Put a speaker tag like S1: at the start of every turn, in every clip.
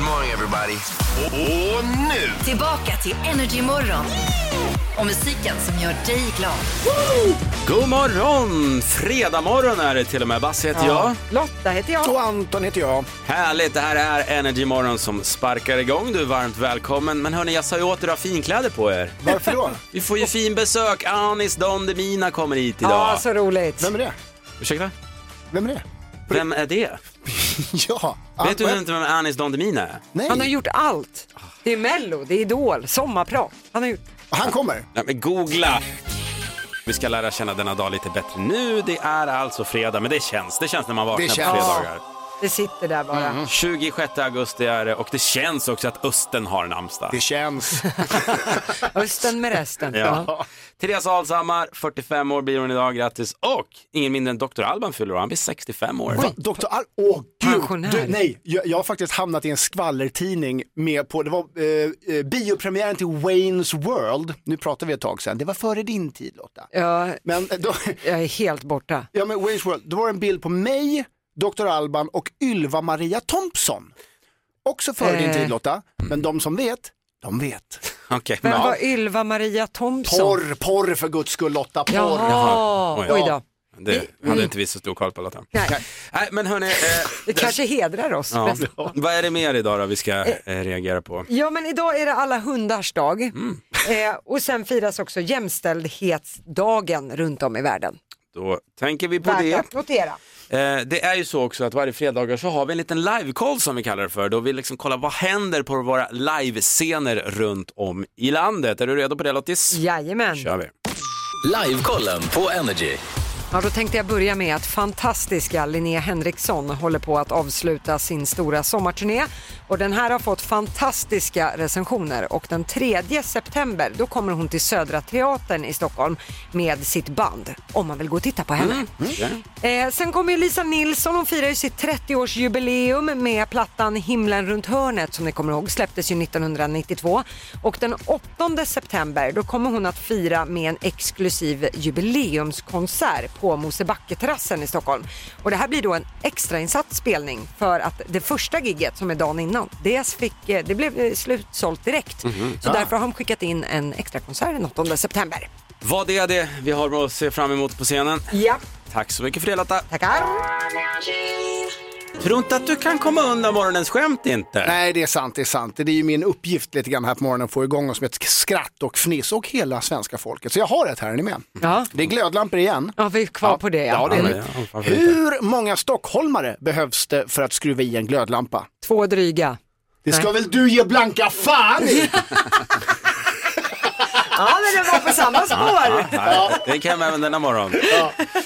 S1: morning everybody. Och, och nu!
S2: Tillbaka till Energy Morgon. Och musiken som gör dig glad.
S3: God morgon! Fredag morgon är det till och med. Basse heter jag.
S4: Lotta heter jag.
S5: Och Anton heter jag.
S3: Härligt, det här är Energy Morgon som sparkar igång. Du är varmt välkommen. Men hörni, jag sa ju åt er att ha finkläder på er.
S5: Varför då?
S3: Vi får ju fin besök. Anis Don Demina kommer hit idag.
S4: Ja, så roligt.
S5: Vem är det?
S3: Ursäkta?
S5: Vem är det?
S3: Vem är det?
S5: Ja.
S3: Vet du inte vem Anis Don Demina är?
S5: Nej,
S4: Han har gjort allt. Det är Mello, det är Idol, sommarprat. Han har gjort...
S5: han kommer.
S3: Nej, men googla. Vi ska lära känna denna dag lite bättre nu. Det är alltså fredag, men det känns. Det känns när man vaknar
S5: Det
S3: på
S5: känns.
S3: fredagar.
S4: Det sitter där bara.
S3: Mm. 26 augusti är det och det känns också att östen har namnsdag.
S5: Det känns.
S4: Östen med resten.
S3: Ja. Therese Alshammar, 45 år blir hon idag, grattis. Och ingen mindre än Dr. Alban fyller år, han blir 65 år.
S5: Va, Dr. Al- Åh gud!
S4: Pensionär.
S5: Du, nej, jag, jag har faktiskt hamnat i en skvallertidning med på, det var eh, eh, biopremiären till Wayne's World, nu pratar vi ett tag sedan, det var före din tid Lotta.
S4: Ja,
S5: Men eh, då,
S4: jag är helt borta.
S5: ja men Wayne's World, då var det en bild på mig, Dr. Alban och Ylva Maria Thompson. Också före din
S4: Eh.
S5: tid Lotta, men de som vet, de vet.
S3: Okej,
S4: Vem
S3: men-
S4: var Ylva Maria Thompson?
S5: Porr, porr för guds skull Lotta, porr.
S4: Liksom. Jaha,
S3: Jaha.
S4: oj
S3: Oj.
S4: då.
S3: det hade inte vi så stor koll på Lotta.
S4: Nej.
S3: Nej, men hörni, eh,
S4: Det kanske hedrar oss.
S3: ja.
S4: bäst.
S3: vad är det mer idag då vi ska eh, reagera på?
S4: Ja men idag är det alla hundars dag eh, och sen firas också jämställdhetsdagen runt om i världen.
S3: Då tänker vi på
S4: Värt
S3: det.
S4: att notera.
S3: Eh, det är ju så också att varje fredagar så har vi en liten live-call som vi kallar det för, då vi liksom kollar vad händer på våra livescener runt om i landet. Är du redo på det Lottis?
S4: Jajamän.
S3: kör vi.
S6: Livekollen på Energy.
S4: Ja, då tänkte jag börja med att fantastiska Linnea Henriksson håller på att avsluta sin stora sommarturné och den här har fått fantastiska recensioner och den 3 september då kommer hon till Södra Teatern i Stockholm med sitt band om man vill gå och titta på henne. Eh, sen kommer ju Lisa Nilsson, hon firar ju sitt 30-årsjubileum med plattan Himlen runt hörnet som ni kommer ihåg släpptes ju 1992. Och den 8 september då kommer hon att fira med en exklusiv jubileumskonsert på Mosebacketerrassen i Stockholm. Och det här blir då en extrainsatt spelning för att det första gigget som är dagen innan, det, fick, eh, det blev eh, slutsålt direkt.
S5: Mhm.
S4: Så därför har de skickat in en extrakonsert den 8 september.
S3: Vad är det vi har att se fram emot på scenen?
S4: Ja,
S3: Tack så mycket för det Lotta.
S4: tackar.
S3: Tror inte att du kan komma undan morgonens skämt inte.
S5: Nej, det är sant, det är sant. Det är ju min uppgift lite grann här på morgonen att få igång oss med ett skratt och fniss och hela svenska folket. Så jag har ett här, är ni med?
S4: Ja.
S5: Det är glödlampor igen.
S4: Ja, vi är kvar på det.
S5: Ja, det är
S3: Ja,
S5: det.
S3: men, ja, varför inte?
S5: Hur många stockholmare behövs det för att skruva i en glödlampa?
S4: Två dryga.
S5: Det ska väl du ge blanka fan i!
S4: Ja, men det var på samma spår.
S3: Nej, Det kan jag även denna morgon.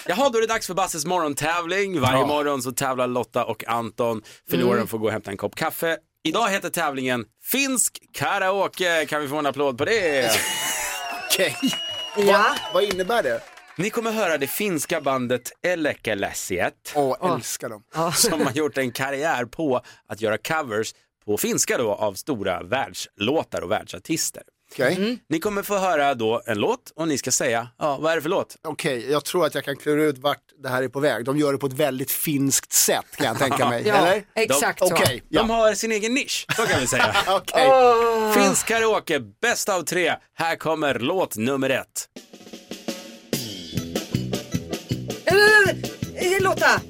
S3: Jaha, då är det dags för Basses morgontävling. Varje morgon så tävlar Lotta och Anton. Förloraren
S5: Mm.
S3: får gå och hämta en kopp kaffe. Idag heter tävlingen Finsk karaoke. Kan vi få en applåd på det?
S5: Okej,
S4: Ja.
S5: vad innebär det?
S3: Ni kommer höra det finska bandet Elekelesiet
S5: Åh, älskar dem.
S3: som har gjort en karriär på att göra covers på finska då av stora världslåtar och världsartister.
S5: Okej,
S4: Mm.
S3: Ni kommer få höra då en låt och ni ska säga, ja, vad är det för låt?
S5: Okej, jag tror att jag kan klura ut vart det här är på väg. De gör det på ett väldigt finskt sätt kan jag tänka mig,
S4: Ja,
S5: eller?
S4: exakt så.
S5: Okej, ja.
S3: De har sin egen nisch, så kan vi säga.
S5: Okej.
S3: Finsk karaoke, bästa av tre. Här kommer låt nummer ett.
S4: Eh, eh, Lotta,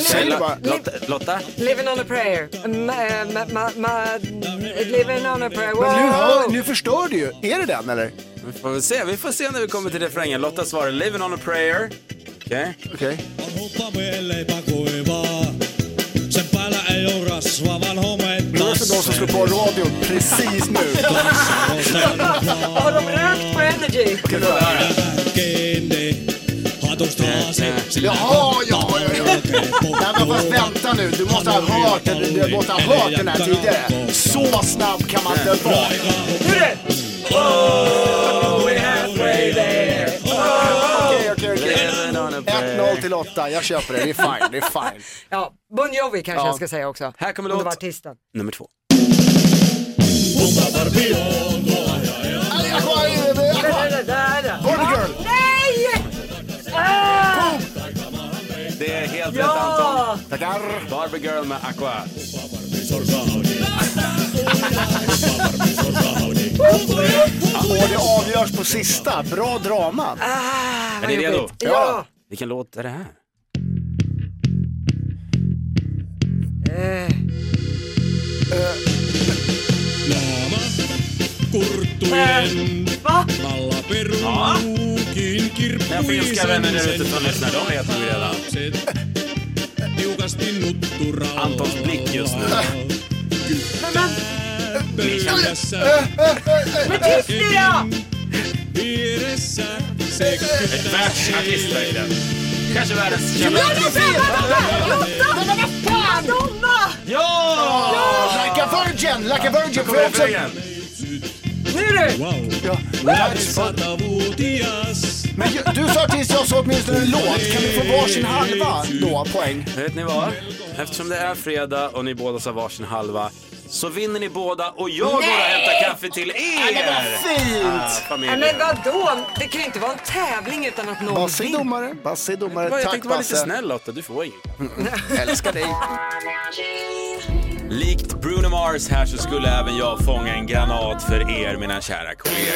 S5: Säg det bara.
S3: Lotta, Lotta, Lotta?
S4: Living on a prayer. Ma, ma, ma, ma, living on a prayer. Wow.
S5: Men nu, hör, nu förstör du ju. Är det den eller?
S3: Vi får väl se, vi får se när vi kommer till refrängen. Lotta svarar Living on a prayer. Okej.
S5: Okej.
S7: On huppa mielleipä kuivaa. Sen päällä ei oo rasvaa, vaan homeet
S5: Det var för de som slår på radion precis nu.
S4: Har de rökt på Energy?
S7: Kiinni, hatusta se, sillä
S5: Jaha, ja, ja, ja.
S7: kokee
S5: Nej men fast vänta nu, du måste ha hört den, du måste ha hört den här tidigare. Så snabb kan man inte vara. Okej, okej, okej.
S3: Living on a
S5: 1-0
S3: prayer.
S5: till 8, jag köper det, det är fine, det är fine.
S4: Ja, Bon Jovi kanske jag ska säga också.
S3: Här kommer
S4: Om
S3: låt.
S4: det var artisten.
S3: Nummer två.
S5: Aj, jag har ju- jag har- Barbie Girl!
S3: Det är helt rätt Anton.
S4: Ja!
S5: Tackar!
S3: Barbie Girl med Aqua.
S8: Och det avgörs på sista. Bra drama.
S3: Är ni redo?
S4: Ja.
S3: Vilken låt är det här?
S7: Naama kurttujen
S4: Va?
S7: alla peruukin
S3: Mina finska vänner där ute
S7: kirppuisen
S3: som lyssnar, de vet nog redan.
S7: lapset. Tiukasti nutturalla.
S3: Antons blick just nu.
S7: Pöydässä
S4: Men tyst nu då!
S7: vieressä sekä
S3: Världsartister i den. Kanske vända kändaste. Ja!
S8: Like a virgin, like a virgin. Får jag också...
S4: Nu du!
S7: wow.
S8: Ja.
S7: Satavuotias
S8: Men ju- du sa tills jag sa åtminstone en låt. Kan vi få varsin halva då, poäng?
S3: Vet ni vad? Eftersom det är fredag och ni båda sa varsin halva så vinner ni båda och jag går och hämtar kaffe till er!
S8: Fint!
S4: Nej,
S3: Familjen.
S4: men vadå? Det kan ju inte vara en tävling utan att någon
S8: Basse är
S4: vinner.
S8: domare. Basse är domare.
S3: Jag
S8: Tack
S3: tänkte vara lite
S8: Basse.
S3: snäll Lotta, du får inget.
S8: Älskar dig.
S3: Likt Bruno Mars här så skulle även jag fånga en granat för er mina kära kollegor.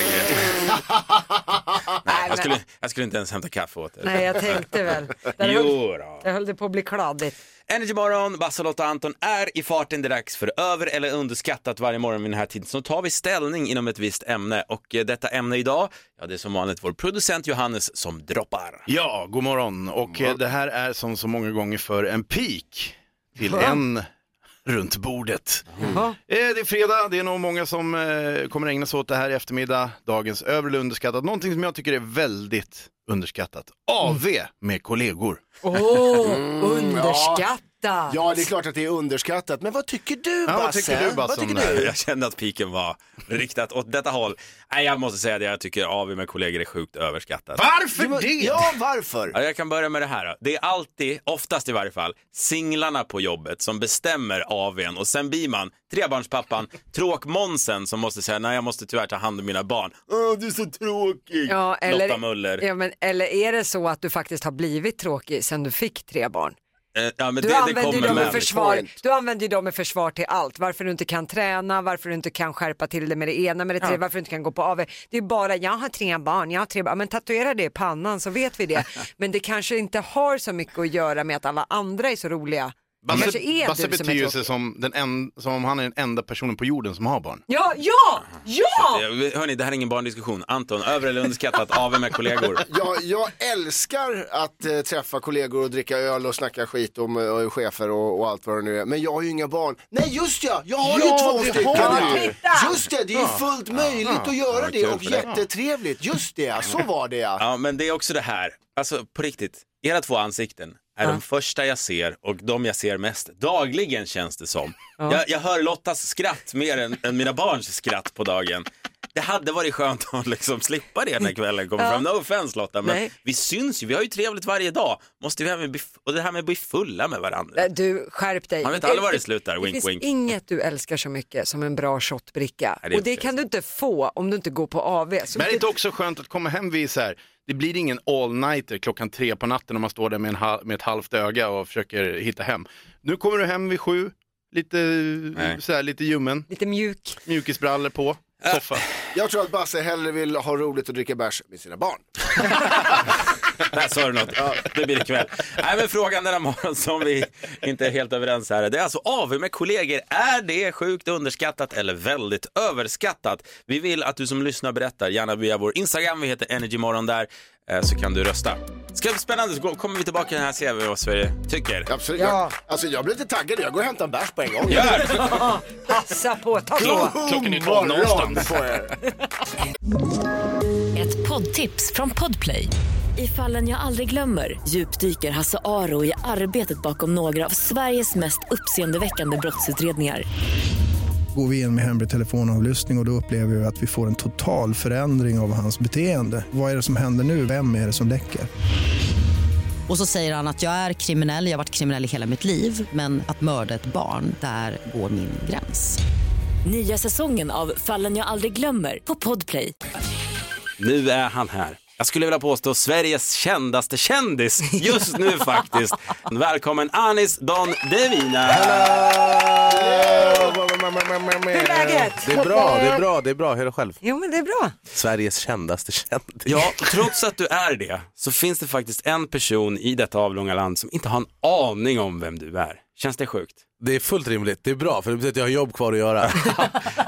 S3: Nej, jag, skulle, jag skulle inte ens hämta kaffe åt er.
S4: Nej, jag tänkte väl. Där höll,
S3: Jo då.
S4: där höll det på att bli kladdigt.
S3: Energymorgon, Basse, Lotta och Anton är i farten. Det är dags för över eller underskattat varje morgon vid den här tiden. Så tar vi ställning inom ett visst ämne och eh, detta ämne idag, ja det är som vanligt vår producent Johannes som droppar.
S9: Ja, god morgon. Och eh, det här är som så många gånger för en pik till en runt bordet. Eh, Det är fredag, det är nog många som eh, kommer ägna sig åt det här i eftermiddag. Dagens över eller underskattat. Någonting som jag tycker är väldigt underskattat. AV med kollegor.
S4: Åh, underskatta!
S8: Ja, det är klart att det är underskattat. Men vad tycker du
S9: Ja,
S8: Basse?
S9: vad tycker du Basse
S8: Vad
S9: om
S8: tycker
S9: det här?
S8: du?
S3: Jag kände att piken var riktat åt detta håll. Nej, jag måste säga det, jag tycker AW med kollegor är sjukt överskattat.
S9: Varför
S8: Men-
S9: det?
S8: Ja, varför?
S3: Ja, jag kan börja med det här. då. Det är alltid, oftast i varje fall, singlarna på jobbet som bestämmer AWn och sen blir man trebarnspappan, tråkmånsen som måste säga nej jag måste tyvärr ta hand om mina barn. Åh, du är så tråkig!
S4: Ja,
S3: Lotta Möller.
S4: Ja, men, eller är det så att du faktiskt har blivit tråkig sen du fick tre barn?
S3: Eh, Ja, men
S4: Du,
S3: det, det
S4: använder, ju
S3: kommer
S4: dem i
S3: med.
S4: försvar,
S8: Point.
S4: du använder ju dem i försvar till allt. Varför du inte kan träna, varför du inte kan skärpa till det med det ena, med det tredje, varför du inte kan gå på AV. Det är bara, jag har tre barn, jag har tre barn. Men tatuera det i pannan så vet vi det. Men det kanske inte har så mycket att göra med att alla andra är så roliga. Det kanske är
S9: Basse
S4: du som är
S9: beter
S4: tråkig.
S9: sig som, den en, som om han är den enda personen på jorden som har barn.
S4: Ja, ja, ja!
S3: Eh, Hörni, det här är ingen barndiskussion. Anton, över eller underskattat AW med kollegor?
S5: Jag, jag älskar att eh, träffa kollegor och dricka öl och snacka skit om eh, chefer och, och allt vad det nu är. Men jag har ju inga barn. Nej just ja, jag har
S8: Ja,
S5: ju två
S8: det
S5: stycken
S8: har
S5: nu.
S4: du. Titta!
S5: Just det, det är ju fullt möjligt att göra det
S9: kul
S5: och
S9: för dig.
S5: jättetrevligt. Just det, ja, så var det ja.
S3: Ja, men det är också det här. Alltså på riktigt, era två ansikten är de första jag ser och de jag ser mest dagligen känns det som. Jag, jag hör Lottas skratt mer än, än mina barns skratt på dagen. Det hade varit skönt att liksom slippa det när kvällen kommer fram. No offense Lotta, men
S4: Nej.
S3: vi syns ju, vi har ju trevligt varje dag. Måste vi även bli, och det här med att bli fulla med varandra.
S4: Nej, Eh, Du, skärp dig.
S3: Man vet aldrig var det slutar,
S4: Det
S3: wink,
S4: finns
S3: wink.
S4: inget du älskar så mycket som en bra shotbricka.
S3: Nej, det är
S4: och det
S3: precis.
S4: kan du inte få om du inte går på AV. Så
S9: Men är det
S4: det-
S9: inte också skönt att komma hem vid så här, det blir ingen all-nighter klockan tre på natten om man står där med, en hal- med ett halvt öga och försöker hitta hem. Nu kommer du hem vid sju, lite,
S3: Nej. Äh,
S9: så här, lite ljummen,
S4: Lite mjuk.
S9: mjukisbrallor på, soffa.
S5: Jag tror att Basse hellre vill ha roligt och dricka bärs med sina barn.
S3: Där sa du något. Det blir ikväll. Nej, men frågan denna morgon som vi inte är helt överens här. Det är alltså AV med kollegor. Är det sjukt underskattat eller väldigt överskattat? Vi vill att du som lyssnar berättar, gärna via vår Instagram. Vi heter Energymorgon där, eh, så kan du rösta. Ska det bli spännande så kommer vi tillbaka till den här ser vi vad Sverige tycker.
S5: Absolut.
S4: Ja.
S5: Jag, alltså jag blir lite taggad, jag går och hämtar en bärs på en gång.
S3: Gör!
S4: Passa på, ta på.
S9: Klockan är
S5: God morgon
S9: tolv någonstans.
S5: på er.
S2: Ett poddtips från Podplay. I fallen jag aldrig glömmer djupdyker Hasse Aro i arbetet bakom några av Sveriges mest uppseendeväckande brottsutredningar.
S10: går vi in med hemlig telefonavlyssning och, och då upplever vi att vi får en total förändring av hans beteende. Vad är det som händer nu? Vem är det som läcker?
S11: Och så säger han att jag är kriminell, jag har varit kriminell i hela mitt liv men att mörda ett barn, där går min gräns.
S2: Nya säsongen av Fallen jag aldrig glömmer på Podplay.
S3: Nu är han här. Jag skulle vilja påstå Sveriges kändaste kändis just nu faktiskt. Välkommen Anis Don Devina.
S4: Hur är läget?
S1: Det är bra, det är bra, det är bra. Hur är det själv?
S4: Jo men det är bra.
S1: Sveriges kändaste kändis.
S3: Ja, trots att du är det så finns det faktiskt en person i detta avlånga land som inte har en aning om vem du är. Känns det sjukt?
S1: Det är fullt rimligt, det är bra för det betyder att jag har jobb kvar att göra.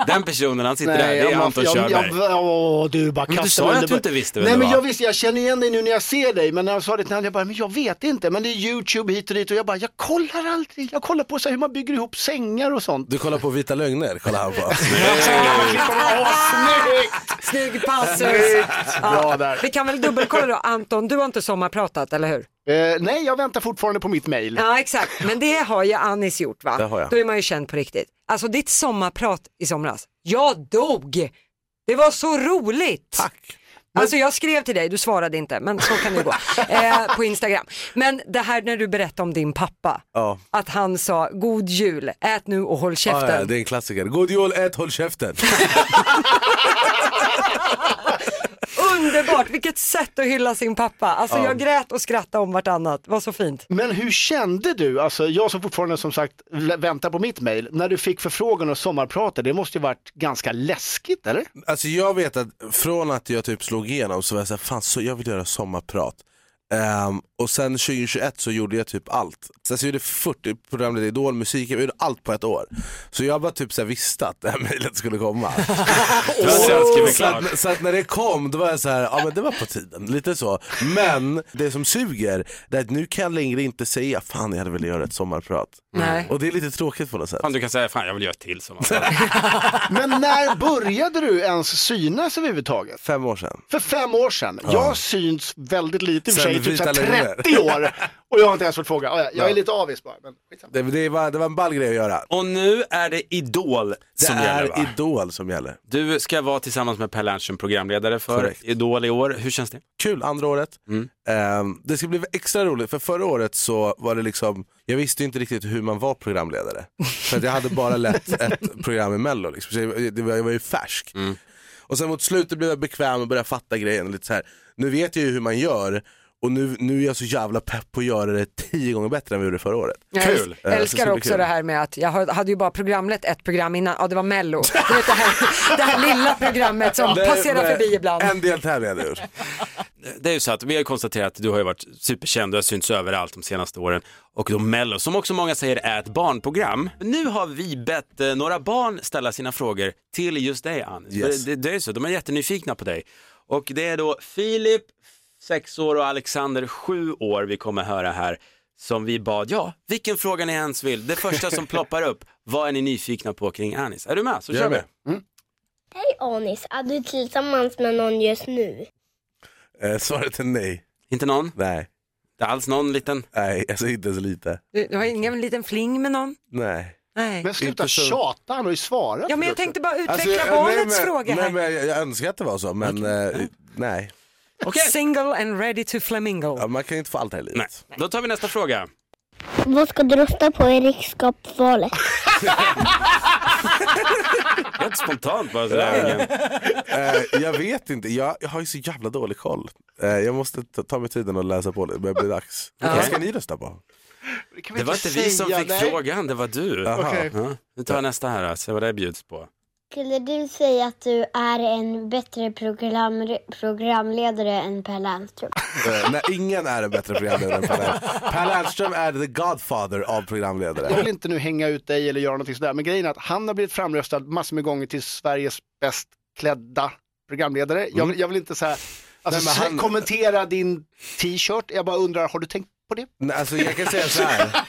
S3: Den personen, han sitter
S1: Nej,
S3: där, det är
S1: jag-
S3: Anton
S1: jag- jag-
S3: Körberg.
S5: jag- åh, du bara
S3: Men du
S5: kastar
S3: sa ju
S5: under
S3: att du
S5: bu-
S3: inte visste vem
S5: Nej
S3: det
S5: men
S3: var.
S5: jag visste, jag känner igen dig nu när jag ser dig. Men när jag sa det till honom, jag bara, men jag vet inte. Men det är YouTube hit och dit och jag bara, jag kollar aldrig. Jag kollar på så här, hur man bygger ihop sängar och sånt.
S1: Du kollar på Vita Lögner, kollar han på.
S5: Snyggt!
S4: Snygg passus.
S5: Snyggt. Bra där.
S4: Vi kan väl dubbelkolla då. Anton, du har inte sommarpratat, eller hur?
S5: Eh, nej, jag väntar fortfarande på mitt mail.
S4: Ja, exakt. Men det har ju Anis gjort va?
S5: Det har jag.
S4: Då är man ju känd på riktigt. Alltså ditt sommarprat i somras, jag dog! Det var så roligt! Tack! Alltså jag skrev till dig, du svarade inte, men så kan det gå. eh, på Instagram. Men det här när du berättade om din pappa,
S1: Ja.
S4: att han sa god jul, ät nu och håll käften.
S1: Ja, ja, det är en klassiker. God jul, ät, håll käften.
S4: Underbart, vilket sätt att hylla sin pappa. Alltså
S5: Ja.
S4: jag grät och skrattade om vartannat, det var så fint.
S5: Men hur kände du, alltså jag som fortfarande som sagt vä- väntar på mitt mail, när du fick förfrågan och sommarpratet, det måste ju varit ganska läskigt eller?
S1: Alltså jag vet att från att jag typ slog igenom så var jag såhär, fan så jag vill göra sommarprat. Ehm, och sen 2021 så gjorde jag typ allt. Sen så gjorde jag 40 program, det Idol, musik, jag gjorde allt på ett år. Så jag bara typ så här visste att det här mejlet skulle komma.
S3: Du hade redan skrivit
S1: så,
S3: klart.
S1: att, så att när det kom då var jag så här, ja men det var på tiden, lite så. Men det som suger, det är att nu kan jag längre inte säga, fan jag hade velat göra ett sommarprat.
S5: Nej.
S1: Och det är lite tråkigt på något sätt.
S3: Fan du kan säga, fan jag vill göra ett till som
S5: Men när började du ens synas överhuvudtaget?
S1: Fem år sedan.
S5: För fem år sedan?
S1: Ja.
S5: Jag har synts väldigt lite i och för
S1: Sen
S5: sig, typ så här
S1: Vita Lögner.
S5: 30 år och jag har inte ens fått fråga. Ja, Jag är
S1: Ja.
S5: lite avis bara. Men...
S1: Det, det, var, det var en ball grej att göra.
S3: Och nu är det Idol
S1: Det
S3: som
S1: är
S3: gäller va?
S1: Idol som gäller.
S3: Du ska vara tillsammans med Per Lernström programledare för
S1: Korrekt.
S3: Idol i år. Hur känns det?
S1: Kul, andra året. Ehm, det ska bli extra roligt, för förra året så var det liksom, jag visste ju inte riktigt hur man var programledare. För att jag hade bara lett ett program i mello, liksom. så jag, det var, jag var ju färsk. Och sen mot slutet blev jag bekväm och började fatta grejen. Lite så här. Nu vet jag ju hur man gör och nu, nu är jag så jävla pepp på att göra det tio gånger bättre än vi gjorde förra året.
S4: Jag äls-
S1: Ehm, så ska
S4: älskar
S1: bli
S4: också
S1: kul.
S4: det här med att jag har- hade ju bara programlett ett program innan, ja det var mello. Du vet det, här, det här lilla programmet som
S3: Det-
S4: passerar
S3: det-
S4: förbi ibland.
S1: En deltävling hade jag gjort.
S3: Det är ju så att vi har ju konstaterat att du har ju varit superkänd, du har synts överallt de senaste åren. Och då Mello, som också många säger är ett barnprogram. Nu har vi bett eh, några barn ställa sina frågor till just dig Anis.
S1: Yes.
S3: För Det, det är ju så, de är jättenyfikna på dig. Och det är då Filip, 6 år och Alexander, 7 år vi kommer höra här. Som vi bad, ja, vilken fråga ni ens vill. Det första som ploppar upp, vad är ni nyfikna på kring Anis? Är du med? Så
S1: Jag
S3: kör
S1: är
S3: vi.
S1: med.
S12: Hej Anis, är du tillsammans med någon just nu?
S1: Ehm, svaret är nej.
S3: Inte någon?
S1: Nej.
S3: Inte alls någon liten?
S1: Nej, alltså inte ens lite.
S4: Du, du har ingen liten fling med någon?
S1: Nej.
S4: Nej.
S5: Men sluta
S1: Inte så-
S5: tjata, han har ju svarat.
S4: Ja men jag tänkte bara utveckla
S1: Alltså, jag-
S4: barnets
S1: nej, men,
S4: fråga
S1: nej,
S4: här.
S1: men jag, jag önskar att det var så, men eh, nej.
S4: Single and ready to flamingo.
S1: Ja, man kan ju inte få allt här i livet.
S3: Nej. Då tar vi nästa fråga.
S12: Vad ska du rösta på i riksskapsvalet?
S3: Helt spontant bara sådär.
S1: Eh, jag vet inte, jag, jag har ju så jävla dålig koll. Eh, jag måste ta, ta mig tiden och läsa på det, men det blir dags.
S3: Okej.
S1: Vad ska ni rösta på?
S3: Det var inte vi som
S12: säga,
S3: fick
S12: nej.
S3: frågan, det var du.
S1: Jaha. Okej.
S3: Ja. Nu tar jag nästa här, då, se vad det bjuds på.
S12: Skulle du säga att du är en bättre program, programledare än Per Lernström?
S1: Eh, nej, ingen är en bättre programledare än Per Lernström. Per Lernström är the godfather av
S5: Jag vill
S1: programledare.
S5: inte nu hänga ut dig eller göra någonting sådär, men grejen är att han har blivit framröstad massor med gånger till Sveriges bäst klädda programledare. Jag, vill- jag vill inte så här, alltså,
S1: Nej, men han-
S5: se- kommentera din t-shirt, jag bara undrar, har du tänkt på det?
S1: Nej, alltså, jag kan säga så här.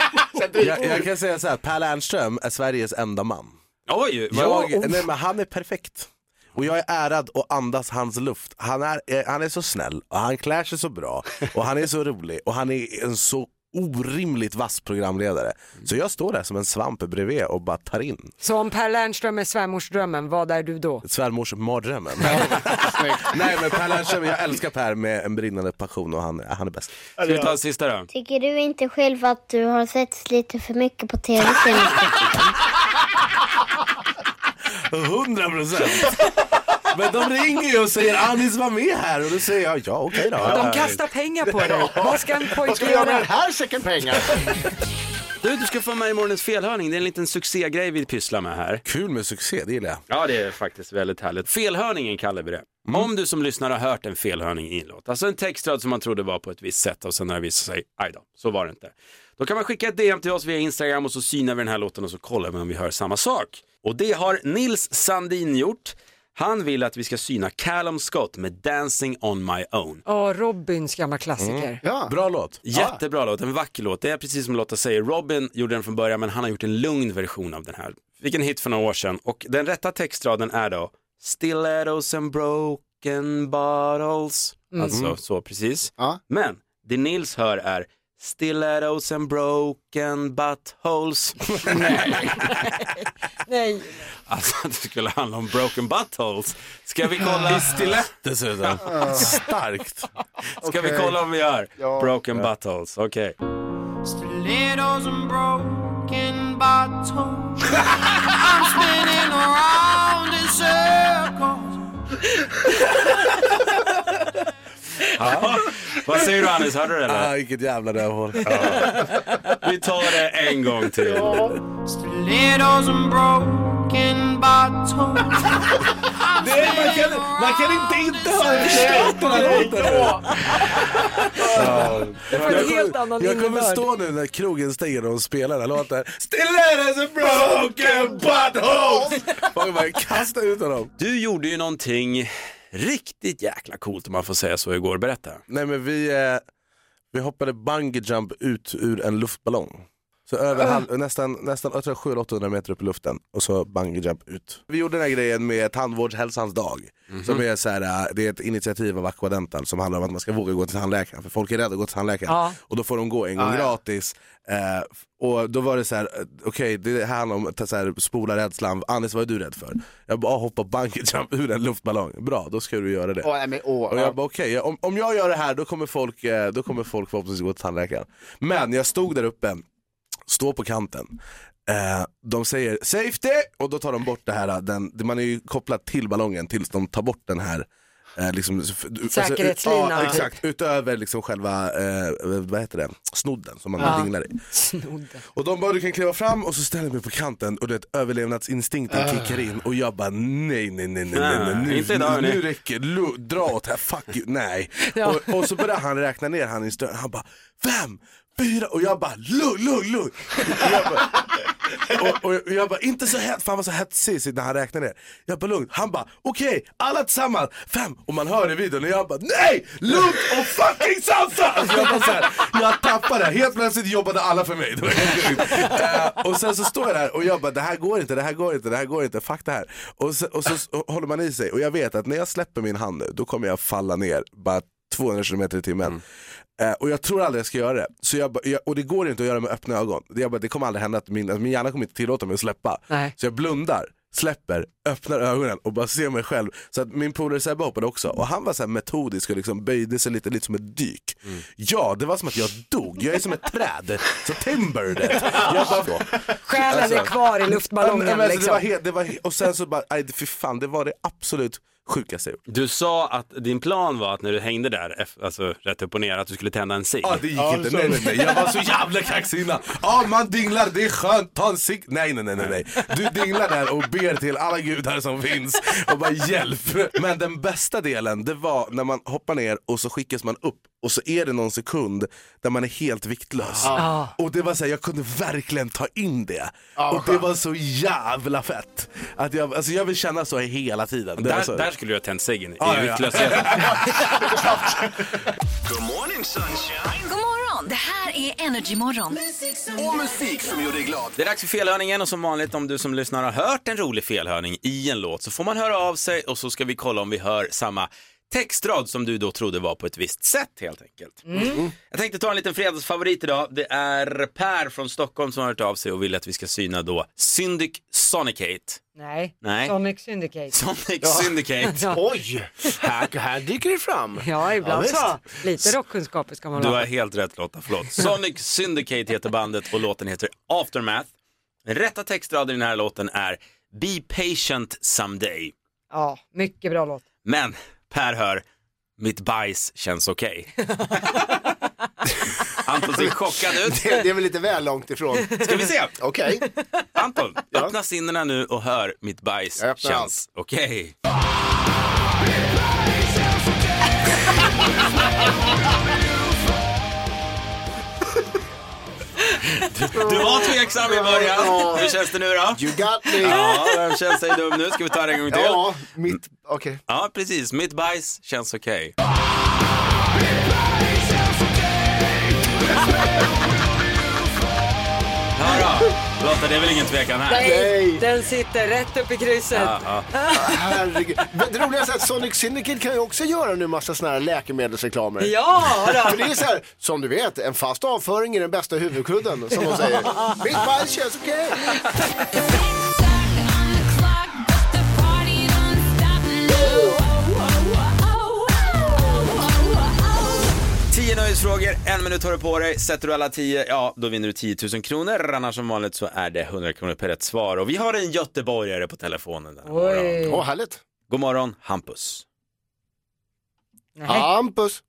S1: Jag, jag kan säga så här, Per Lernström är Sveriges enda man.
S3: Oj, vad-
S1: jag, nej, men han är perfekt. Och jag är ärad och andas hans luft. Han är, eh, han är så snäll och han klär sig så bra och han är så rolig och han är en så orimligt vass programledare. Så jag står där som en svamp bredvid och bara tar in
S4: Så om Per Lernström är svärmorsdrömmen, vad är du då?
S1: svärmorsmardrömmen. nej men Per Lernström, jag älskar Per med en brinnande passion och han, han är bäst.
S3: Ska vi ta en sista då?
S12: Tycker du inte själv att du har sett lite för mycket på tv senaste
S1: Hundra procent! Men de ringer ju och säger Anis var med här och då säger jag ja okej då.
S4: De kastar pengar på dig. Vad ska en
S5: Vad ska
S4: pojke
S5: vi göra med
S4: göra?
S5: den här säcken pengar?
S3: Du, du ska få med i morgonens felhörning. Det är en liten succégrej vi pysslar med här.
S1: Kul med succé, det gillar jag.
S3: Ja, det är faktiskt väldigt härligt. Felhörningen kallar vi det. Om du som lyssnar har hört en felhörning i en låt, alltså en textrad som man trodde var på ett visst sätt och sen när det visar sig, aj då, så var det inte. Då kan man skicka ett DM till oss via Instagram och så synar vi den här låten och så kollar vi om vi hör samma sak. Och det har Nils Sandin gjort. Han vill att vi ska syna Callum Scott med Dancing on my own.
S4: Ja, Robins gamla klassiker.
S1: Mm. Bra låt.
S3: Jättebra låt, en vacker låt. Det är precis som Lotta säger, Robin gjorde den från början men han har gjort en lugn version av den här. Fick en hit för några år sedan och den rätta textraden är då Stilettos and broken bottles.
S5: Mm.
S3: Alltså
S5: Mm.
S3: så precis. Men det Nils hör är Stilettos and broken buttholes.
S4: Nej.
S3: Alltså att det skulle handla om broken buttholes. Ska vi kolla?
S1: I stilett dessutom. Starkt.
S3: Ska vi
S1: Okej.
S3: kolla om vi gör?
S1: Ja.
S3: Broken
S1: Ja.
S3: buttholes, okej.
S13: Stilettos and broken bottles. I'm spinning around in circles.
S3: Ja. Vad säger du Anis, hörde du det? eller?
S1: Ah, vilket jävla rövhål.
S3: Vi tar det en gång till.
S13: Stilettos and broken bottles. I'm
S1: Det är- man, kan, man kan inte inte höra förstått den här låten.
S4: Det var en helt annan
S1: jag kommer
S4: innebörd.
S1: stå nu när krogen stänger och de spelar den här låten.
S3: Stilettos and broken buttholes!
S1: Och bara kasta ut honom.
S3: Du gjorde ju någonting riktigt jäkla coolt om man får säga så igår. Berätta.
S1: Nej men vi, eh, vi hoppade bungee jump ut ur en luftballong. Så över halv, nästan, nästan jag tror 700-800 meter upp i luften och så bungee jump ut. Vi gjorde den här grejen med tandvårdshälsans dag. Som är så här, eh, det är ett initiativ av Aquadental som handlar om att man ska våga gå till tandläkaren för folk är rädda att gå till tandläkaren.
S4: Ja.
S1: Och då får de gå en gång
S5: Ja, ja.
S1: gratis. Eh, f- och då var det så här, eh, okej det här handlar om att så här, spola rädslan. Anders vad är du rädd för? Jag bara hoppa bungee jump ur en luftballong. Bra, då ska du göra det.
S5: Åh, nej, men, åh,
S1: Och
S5: ja.
S1: jag bara okej, jag- om, om jag gör det här då kommer folk, eh, då kommer folk förhoppningsvis gå till tandläkaren. Men jag stod där uppe, står på kanten. Eh, de säger safety och då tar de bort det här, den, man är ju kopplad till ballongen tills de tar bort den här eh, liksom, f- alltså, ut-
S4: Säkerhetslinan,
S1: Ja,
S4: typ.
S1: exakt, utöver liksom själva, eh, vad heter det, snodden som man
S4: Ja.
S1: dinglar i.
S4: Snodde.
S1: Och de bara du kan kliva fram och så ställer jag mig på kanten och det överlevnadsinstinkten kickar in och jag bara nej nej nej nej, nej, nej
S3: Nej,
S1: nu,
S3: inte idag,
S1: nu,
S3: hörni.
S1: nu räcker det, Lu- dra åt här, fuck you, nej. Och, och så börjar han räkna ner han i stön, han bara fem, fyra och jag bara lugn, lugn, lugn. Och jag bara- Och, och, och jag bara inte så hett, för han var så hetsig så när han räknade ner. Jag bara lugn, han bara okej, alla tillsammans, fem och man hör i videon och jag bara nej, lugnt och fucking sansa! Alltså jag bara så här, jag tappade, helt plötsligt jobbade alla för mig. Det var helt sjukt. Eh, och sen så står jag där och jag bara det här går inte, det här går inte, det här går inte, fuck det här. Och så, och så s- håller man i sig och jag vet att när jag släpper min hand nu då kommer jag falla ner bara 200 km i timmen. Eh, och jag tror aldrig jag ska göra det. Så jag, bara- jag, och det går inte att göra med öppna ögon. Jag bara, det kommer aldrig hända att min, att min hjärna kommer inte tillåta mig att släppa.
S4: Nej.
S1: Så jag blundar, släpper, öppnar ögonen och bara ser mig själv. Så att min polare Sebbe hoppade också och han var så här metodisk och liksom böjde sig lite, lite som ett dyk. Ja, det var som att jag dog. Jag är som ett träd. Så timber det. Jag bara,
S4: Själen är kvar i luftballongen.
S1: Ja, men alltså, det
S4: liksom.
S1: var helt, det var, he- och sen så bara, aj, fy fan, det var det absolut sjukaste jag gjort.
S3: Du sa att din plan var att när du hängde där, eff- alltså rätt upp och ner, att du skulle tända en cigg.
S1: Ja det gick inte, nej nej nej, jag var så jävla kaxig innan. Ja man dinglar, det är skönt, ta en cigg. Nej nej nej nej, nej. Du dinglar där och ber till alla gudar som finns och bara hjälp. Men den bästa delen det var när man hoppar ner och så skickas man upp och så är det någon sekund där man är helt viktlös.
S4: Ah.
S1: Och det var så här, jag kunde verkligen ta in det.
S5: Ah, vad
S1: Och det var så jävla fett. Att jag, alltså jag vill känna så hela tiden. Det var så-
S3: Där, där skulle du ha tänt ciggen, i
S1: Ja, ja, ja.
S3: viktlösheten.
S14: Good morning sunshine.
S15: God morgon, det här är Energy Morgon.
S14: Och musik som gör dig glad.
S3: Det är dags för felhörningen och som vanligt om du som lyssnar har hört en rolig felhörning i en låt så får man höra av sig och så ska vi kolla om vi hör samma textrad som du då trodde var på ett visst sätt helt enkelt. Jag tänkte ta en liten fredagsfavorit idag. Det är Per från Stockholm som har hört av sig och vill att vi ska syna då Syndic Sonicate.
S4: Nej.
S3: Nej.
S4: Sonic Syndicate.
S3: Sonic Syndicate.
S5: Oj, här, här dyker det fram.
S4: Ja, ibland
S5: visst.
S4: så. Lite rockkunskaper ska man
S3: Du
S4: väl
S3: har
S4: ha.
S3: helt rätt Lotta, förlåt. Sonic Syndicate heter bandet och låten heter Aftermath. Den rätta textraden i den här låten är Be patient someday.
S4: Ja, mycket bra låt.
S3: Men Per hör, mitt bajs känns okej. Anton ser chockad ut.
S5: Det, det är väl lite väl långt ifrån.
S3: Ska vi se?
S5: Okej.
S3: Anton, öppna sinnena nu och hör mitt bajs
S5: öppnar
S3: känns. Okej. Du var tveksam i början. Hur känns det nu då?
S5: You got me.
S3: Ja, vem känns sig dum nu? Ska vi ta det en gång till?
S5: Ja, mitt, okej.
S3: Ja, precis. Mitt bajs känns okej. Hör då. Lotta, det är väl ingen tvekan här?
S4: Nej, den sitter rätt upp i krysset.
S3: Ja, ja.
S5: Herregud. Men Det roliga är att Sonic Syndicate kan ju också göra nu massa såna här läkemedelsreklamer.
S4: Ja, då.
S5: För det är så här, som du vet, en fast avföring är den bästa huvudkudden, som de säger. Mitt bajs känns okej.
S3: Tio nöjesfrågor, en minut har du på dig. Sätter du alla tio, ja då vinner du 10 000 kronor. Annars som vanligt så är det 100 kronor per rätt svar. Och vi har en göteborgare på telefonen. Där.
S5: Oj. Åh, härligt.
S3: God morgon, Hampus.
S5: Hampus.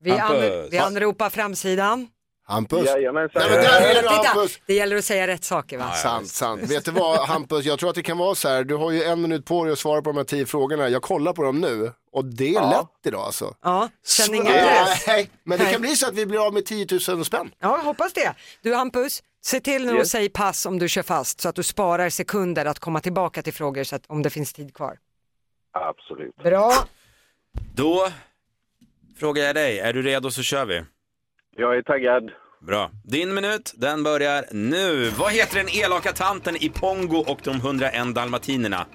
S4: Vi,
S3: Hampus.
S4: an, vi anropar framsidan.
S5: Hampus.
S16: Jajamensan.
S5: Nej, men där är du
S4: Titta,
S5: Hampus.
S4: det gäller att säga rätt saker va?
S5: Sant, sant. Vet du vad Hampus, jag tror att det kan vara så här, du har ju en minut på dig att svara på de här tio frågorna. Jag kollar på dem nu och det är
S4: Ja.
S5: lätt idag alltså.
S4: Ja, känn ingen
S5: Nej,
S4: press.
S5: nej, men det
S4: Nej.
S5: kan bli så att vi blir av med 10 000 spänn.
S4: Ja, jag hoppas det. Du Hampus, se till nu och
S5: Yes.
S4: säg pass om du kör fast så att du sparar sekunder att komma tillbaka till frågor så att, om det finns tid kvar.
S16: Absolut.
S4: Bra.
S3: Då frågar jag dig, är du redo så kör vi.
S16: Jag är taggad.
S3: Bra. Din minut, den börjar nu. Vad heter den elaka tanten i Pongo och de 101 dalmatinerna?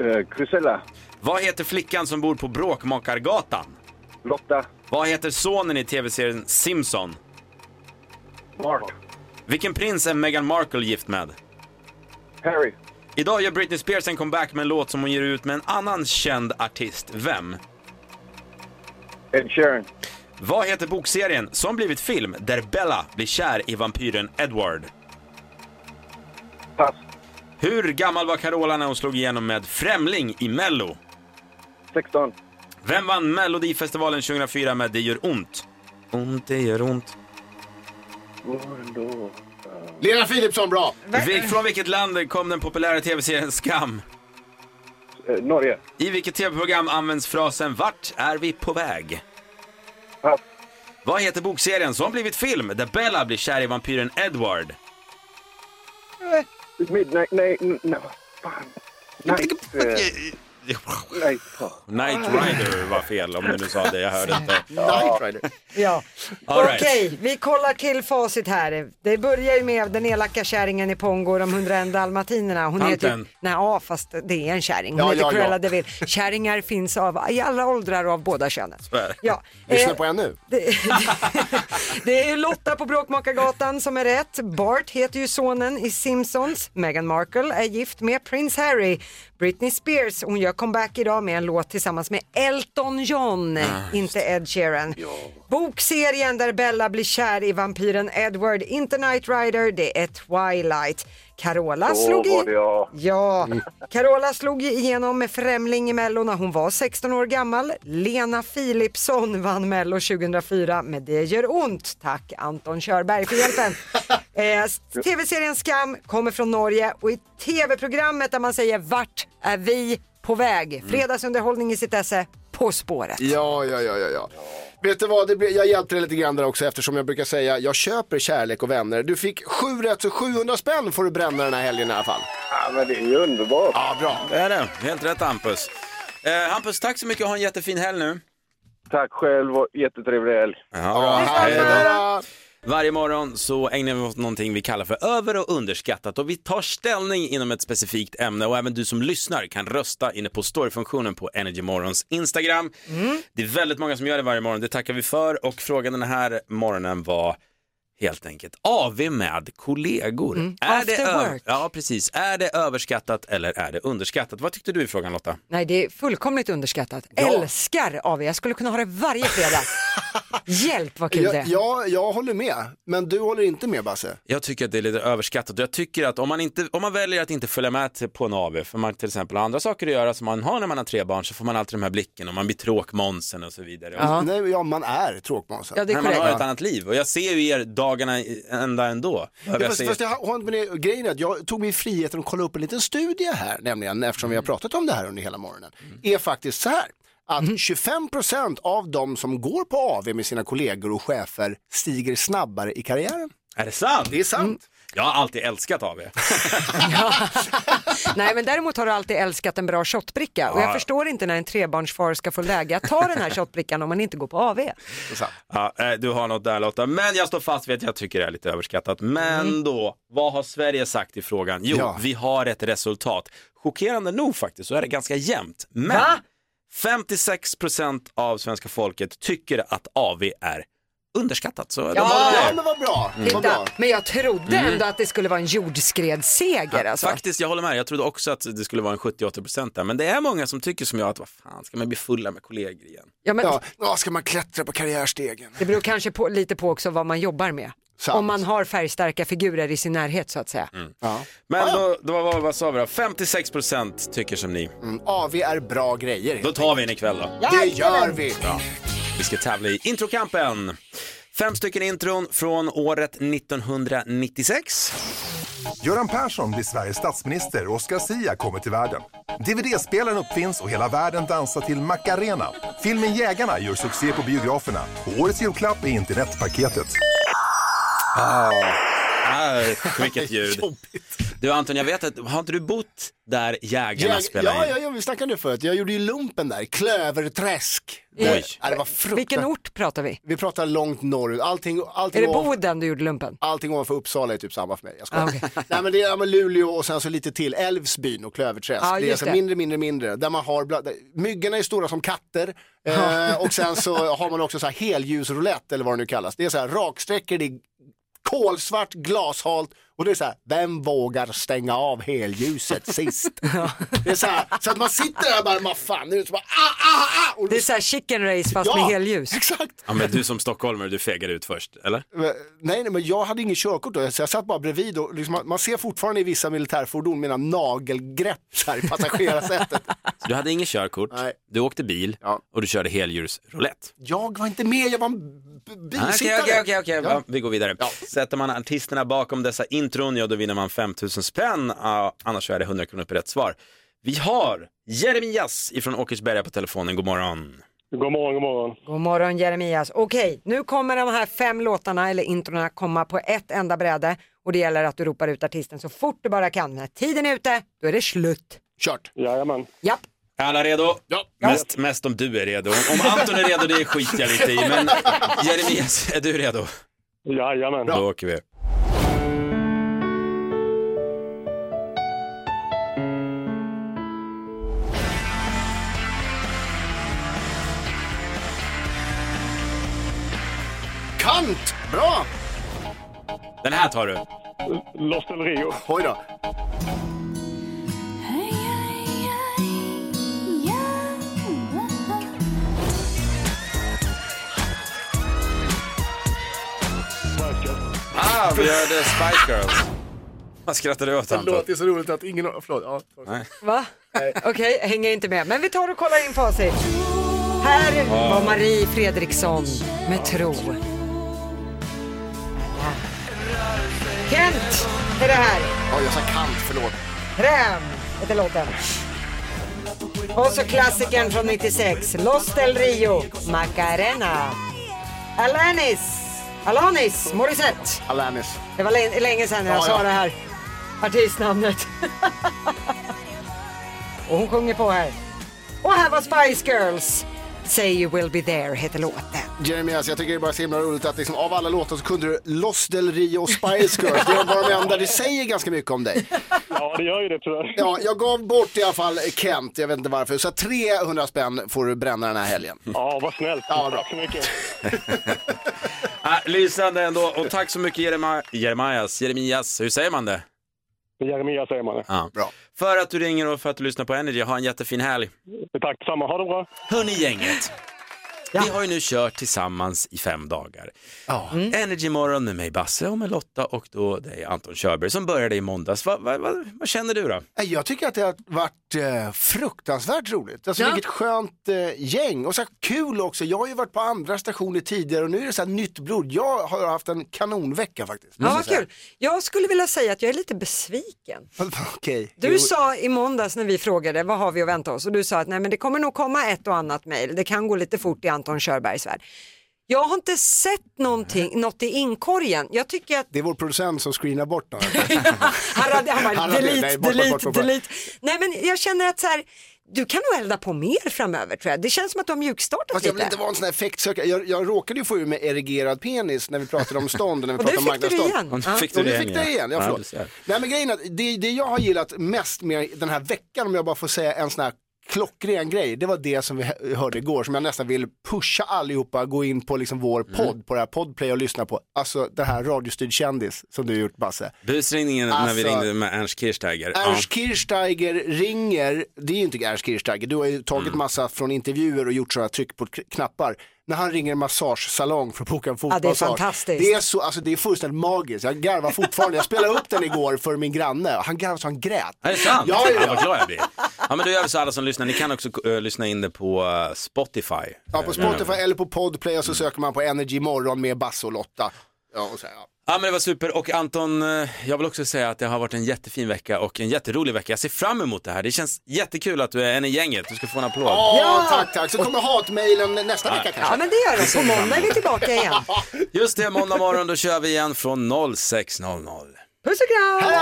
S16: Uh, Krusella.
S3: Vad heter flickan som bor på Bråkmakargatan?
S16: Lotta.
S3: Vad heter sonen i tv-serien Simpson?
S16: Mark.
S3: Vilken prins är Meghan Markle gift med?
S16: Harry.
S3: Idag gör Britney Spears en comeback med en låt som hon ger ut med en annan känd artist. Vem?
S16: Ed Sheeran.
S3: Vad heter bokserien som blivit film där Bella blir kär i vampyren Edward?
S16: Pass.
S3: Hur gammal var Carola när hon slog igenom med Främling i Mello?
S16: 16.
S3: Vem vann Melodifestivalen 2004 med Det gör ont? Ont, det gör ont.
S5: Lena Philipsson, bra!
S3: Vi- Från vilket land kom den populära tv-serien Skam?
S16: eh, Norge.
S3: I vilket tv-program används frasen Vart är vi på väg?
S16: Pass.
S3: Vad heter bokserien som blivit film där Bella blir kär i vampyren Edward?
S16: Eh, Midnight. Nej, n- nej. Fan. Night. eh, Night.
S3: Night Rider var fel om du nu sa det, jag hörde inte.
S5: Night Rider.
S4: Ja.
S3: All right.
S4: Okej, vi kollar till facit här. Det börjar ju med den elaka kärringen i Pongo och de 101 dalmatinerna. Hon heter,
S5: Tanten.
S4: nej, ja, fast det är en kärring. Hon
S5: Ja,
S4: heter
S5: ja, ja.
S4: Cruella de Vil. Kärringar finns av, i alla åldrar och av båda könen. Ja,
S5: Lyssna
S4: eh,
S5: på en nu.
S4: Det, det är Lotta på Bråkmakargatan som är rätt. Bart heter ju sonen i Simpsons. Meghan Markle är gift med prins Harry. Britney Spears, hon gör comeback idag med en låt tillsammans med Elton John, inte Ed Sheeran. Bokserien där Bella blir kär i vampyren Edward, inte Knight Rider, det är Twilight. Carola
S16: Då
S4: slog
S16: var
S4: i...
S16: det jag.
S4: Ja, Carola slog ju igenom med Främling i Mello när hon var 16 år gammal. Lena Philipsson vann Mello 2004 med Det gör ont. Tack Anton Körberg för hjälpen. Eh, TV-serien Skam kommer från Norge och i TV-programmet där man säger Vart är vi på väg?
S16: Mm.
S4: Fredagsunderhållning i sitt esse, På spåret.
S5: Ja, ja, ja, ja. ja. Vet du vad, det blir, jag hjälpte dig lite grann där också eftersom jag brukar säga jag köper kärlek och vänner. Du fick sju rätt så 700 spänn får du bränna den här helgen i alla fall.
S16: Ja, men det är ju underbart.
S5: Ja, bra.
S3: Det är det, helt rätt Hampus. Eh, Hampus, tack så mycket och ha en jättefin helg nu.
S16: Tack själv och jättetrevlig helg.
S3: Ja, hej då. Varje morgon så ägnar vi oss åt någonting vi kallar för över och underskattat och vi tar ställning inom ett specifikt ämne och även du som lyssnar kan rösta inne på storyfunktionen på Energy Morgons Instagram.
S4: Mm.
S3: Det är väldigt många som gör det varje morgon, det tackar vi för och frågan den här morgonen var helt enkelt. AV med kollegor.
S4: Mm.
S3: Är, det
S4: After
S3: ö-
S4: work.
S3: ja, precis. är det överskattat eller är det underskattat? Vad tyckte du i frågan Lotta?
S4: Nej, det är fullkomligt underskattat. Älskar AV. Jag skulle kunna ha det varje fredag. Hjälp vad kul det
S5: Jag,
S4: är.
S5: jag, jag håller med, men du håller inte med Basse.
S3: Jag tycker att det är lite överskattat. Jag tycker att om man, inte, om man väljer att inte följa med till- på en AV, för man till exempel har andra saker att göra som man har när man har tre barn, så får man alltid de här blicken och man blir tråkmånsen och så vidare. Och-
S5: Nej, ja, man är tråkmånsen.
S3: Nej, man har ett annat liv och jag ser ju er dagarna i- ända ändå.
S5: Ja,
S3: Jag
S5: fast,
S3: ser-
S5: fast jag har inte med det. Grejen är att jag tog mig friheten att kolla upp en liten studie här, nämligen eftersom vi har pratat om det här under hela morgonen. är faktiskt så här att 25% av de som går på AV med sina kollegor och chefer stiger snabbare i karriären. Mm.
S3: Är det sant?
S5: Det är sant.
S3: Jag har alltid älskat AV.
S4: Nej, men däremot har du alltid älskat en bra shotbricka och
S3: Ja.
S4: jag förstår inte när en trebarnsfar ska få läge att ta den här shotbrickan om man inte går på AV.
S3: Ja, eh, du har något där Lotta, men jag står fast vid att jag tycker det är lite överskattat. Men
S4: Mm.
S3: då, vad har Sverige sagt i frågan? Jo,
S5: Ja.
S3: vi har ett resultat. Chockerande nog faktiskt så är det ganska jämnt. Men 56% av svenska folket tycker att AV är underskattat. Så de
S4: Ja,
S3: håller med.
S4: men
S5: vad bra.
S3: Mm. Vad
S4: Titta,
S3: bra.
S4: men jag trodde
S3: Mm.
S4: ändå att det skulle vara en jordskredsseger.
S3: Ja,
S4: Alltså.
S3: Faktiskt, jag håller med. Jag trodde också att det skulle vara en 70-80% där. Men det är många som tycker som jag att vad fan ska man bli fulla med kollegor igen?
S4: Ja, men-
S5: ja, ska man klättra på karriärstegen?
S4: Det beror kanske på, lite på också vad man jobbar med. Om man har färgstarka figurer i sin närhet så att säga. Ah.
S3: Men då, då vad, vad sa vi då? 56% tycker som ni.
S5: Mm, AV är bra grejer.
S3: Då tar vi en ikväll då.
S5: Det gör vi!
S3: Bra. Vi ska tävla i Introkampen. Fem stycken intron från året 1996.
S17: Göran Persson blir Sveriges statsminister och Oscar Sia kommer till världen. DVD-spelaren uppfinns och hela världen dansar till Macarena. Filmen Jägarna gör succé på biograferna. Och årets julklapp är internetpaketet.
S3: Ah. vilket ljud. Du Anton, jag vet att, har inte du bott där jägarna
S5: Jag,
S3: spelar
S5: ja,
S3: in?
S5: ja, ja, vi snackade om det förut. Jag gjorde ju lumpen där, Klöverträsk.
S3: Oj.
S5: Ja, det var fruktansvärt.
S4: Vilken ort pratar vi?
S5: Vi pratar långt norrut. Allting, allting
S4: Är det
S5: ovanför-
S4: Boden du gjorde lumpen?
S5: Allting ovanför Uppsala är typ samma för mig. Jag skojar.
S4: Ah, okej.
S5: Nej men det är ja, men Luleå och sen så lite till, Älvsbyn och Klöverträsk. det
S4: Ja,
S5: är
S4: Ah, just
S5: så
S4: det.
S5: mindre, mindre, mindre. Där man har, bland... myggorna är stora som katter. Eh, och sen så har man också så här helljusroulette eller vad det nu kallas. Det är så här raksträckor, det är kolsvart, glashalt och det är så här, vem vågar stänga av helljuset sist? Det är så här, så att man sitter där och bara, vad fan, det är så bara, ah, ah, ah! Och
S4: Det är så här chicken race fast
S5: Ja,
S4: med helljus.
S5: Exakt.
S3: Ja, men du som stockholmare, du fegar ut först, eller?
S5: Men- Nej, nej, men jag hade ingen körkort då, så jag satt bara bredvid och liksom, man- man ser fortfarande i vissa militärfordon mina nagelgrepp så här i passagerarsätet.
S3: Så Du hade inget körkort, du åkte bil och du körde heldjursroulette.
S5: jag var inte med, jag var en b-
S3: Ah, Okej,
S5: bisittare.
S3: okej, okej, okej.
S5: Ja.
S3: Ja, vi går vidare. Sätter man artisterna bakom dessa intron, ja då vinner man 5000 spänn, Ja, annars så är det 100 kronor per rätt svar. Vi har Jeremias ifrån Åkersberga på telefonen, god morgon.
S18: God morgon, god morgon.
S4: God morgon Jeremias. Okej, nu kommer de här fem låtarna eller introna komma på ett enda bräde och det gäller att du ropar ut artisten så fort du bara kan. När tiden är ute, då är det slut.
S5: Kört.
S18: Jajamän.
S4: Japp.
S3: Är alla redo? Ja. Mest, mest om du är redo. Om Anton är redo, det skiter jag lite i. Men Jeremias, är du redo?
S18: Jajamän.
S3: Då åker vi.
S5: Kant, bra!
S3: Den här tar du.
S18: Lost El Rio.
S5: Oj då.
S3: Ah, vi hörde Spice Girls. Vad skrattar du åt Anton?
S5: det är så roligt att ingen... Förlåt. Ja,
S3: Nej.
S4: Va? Okej, hänger inte med. Men vi tar och kollar in facit. Här
S3: Wow.
S4: var Marie Fredriksson med Tro. Kent är det här.
S5: Ja, jag sa kant, förlåt.
S4: Kräm heter låten. Och så klassikern från 96, Los del Rio, Macarena. Alanis, Alanis Morissette.
S5: Alanis.
S4: Det var lä- länge sedan jag
S5: Ja,
S4: sa
S5: ja.
S4: det här artistnamnet. Och hon sjunger på här. Och här var Spice Girls. Say you will be there heter låten.
S5: Jeremias, alltså, jag tycker det är bara så himla roligt att liksom, av alla låtar så kunde du Los Del Rio och Spice Girls. Det var de enda, det säger ganska mycket om dig.
S18: Ja, det gör ju det tyvärr.
S5: Ja, jag gav bort i alla fall Kent, jag vet inte varför. Så 300 spänn får du bränna den här helgen.
S18: Ja, vad snällt.
S5: Ja, bra.
S18: Tack så mycket.
S3: Ah, lysande ändå och tack så mycket Jerema, Jeremias, Jeremias, hur säger man det?
S18: Jeremia säger man det.
S3: Ja. Bra. För att du ringer och för att du lyssnar på Energy, ha en jättefin helg.
S18: Tack detsamma, ha det bra.
S3: Hörni gänget, vi har ju nu kört tillsammans i fem dagar. Ja. Energy morgon med mig Basse och med Lotta och då dig Anton Körberg som började i måndags. Vad vad- vad- vad känner du då?
S5: Nej, Jag tycker att det har varit eh, fruktansvärt roligt. Alltså
S3: Ja.
S5: vilket skönt eh, gäng och så här kul också. Jag har ju varit på andra stationer tidigare och nu är det så här nytt blod. Jag har haft en kanonvecka faktiskt.
S4: Ja, vad kul. Jag skulle vilja säga att jag är lite besviken.
S5: Okej.
S4: Du sa i måndags när vi frågade vad har vi att vänta oss och du sa att nej men det kommer nog komma ett och annat mejl, det kan gå lite fort i Anton Körbergs värld. Jag har inte sett någonting, något i inkorgen. Jag tycker att
S5: Det är vår producent som screenar bort något.
S4: han hade, han bara,
S5: Han hade-
S4: delete,
S5: nej, bort, bort,
S4: delete,
S5: bort, bort, bort."
S4: delete. Nej men jag känner att så här, du kan nog elda på mer framöver tror jag. Det känns som att du har mjukstartat
S5: Fast
S4: lite.
S5: jag vill inte vara en sån här effektsökare. Jag, jag råkade ju få ur mig erigerad penis när vi pratade om stånd och när vi
S4: Och
S5: pratade om
S4: nu fick du det
S5: marknadsstånd.
S4: igen. Ja.
S5: Och
S4: Fick
S3: du
S5: nu
S3: det
S5: fick
S3: igen, ja.
S5: det igen. Ja,
S3: Ja,
S5: förlåt.
S3: du ser.
S5: Nej men grejen är att det, det jag har gillat mest med den här veckan, om jag bara får säga en sån här klockren grej, det var det som vi hö- hörde igår som jag nästan vill pusha allihopa gå in på liksom vår
S3: Mm.
S5: podd, på det här Podplay och lyssna på. Alltså det här radiostyrd kändis som du har gjort Basse.
S3: Busringningen när vi
S5: Alltså,
S3: ringde med Ernst Kirchsteiger.
S5: Ernst Kirchsteiger ringer, det är ju inte Ernst Kirchsteiger, du har ju tagit
S4: Mm.
S5: massa från intervjuer och gjort sådana tryck på k- knappar. När han ringer en massagesalong för att boka en
S4: det är
S5: fotbollsmatch.
S4: fantastiskt.
S5: Det är, så, alltså, det är fullständigt magiskt, jag garvar fortfarande. Jag spelade upp den igår för min granne och han garvade så han grät.
S3: Ja. Är det sant?
S5: Ja, ja, ja.
S3: Vad glad jag blir. Ja, men då gör vi så alla som lyssnar, ni kan också eh, lyssna in det på eh, Spotify.
S5: Ja, på Spotify eller på Podplay och så söker man på Energy morgon med Basse och Lotta. Ja, och så, här, ja.
S3: Ja men det var super och Anton, eh, jag vill också säga att det har varit en jättefin vecka och en jätterolig vecka. Jag ser fram emot det här. Det känns jättekul att du är en i gänget. Du ska få en applåd.
S5: ja, tack, tack. Så kommer hatmejlen nästa vecka kanske.
S4: Ja men det gör det, på måndag är vi tillbaka igen.
S3: Just det, måndag morgon då kör vi igen från 06.00.
S4: Puss och kram!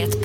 S2: Ett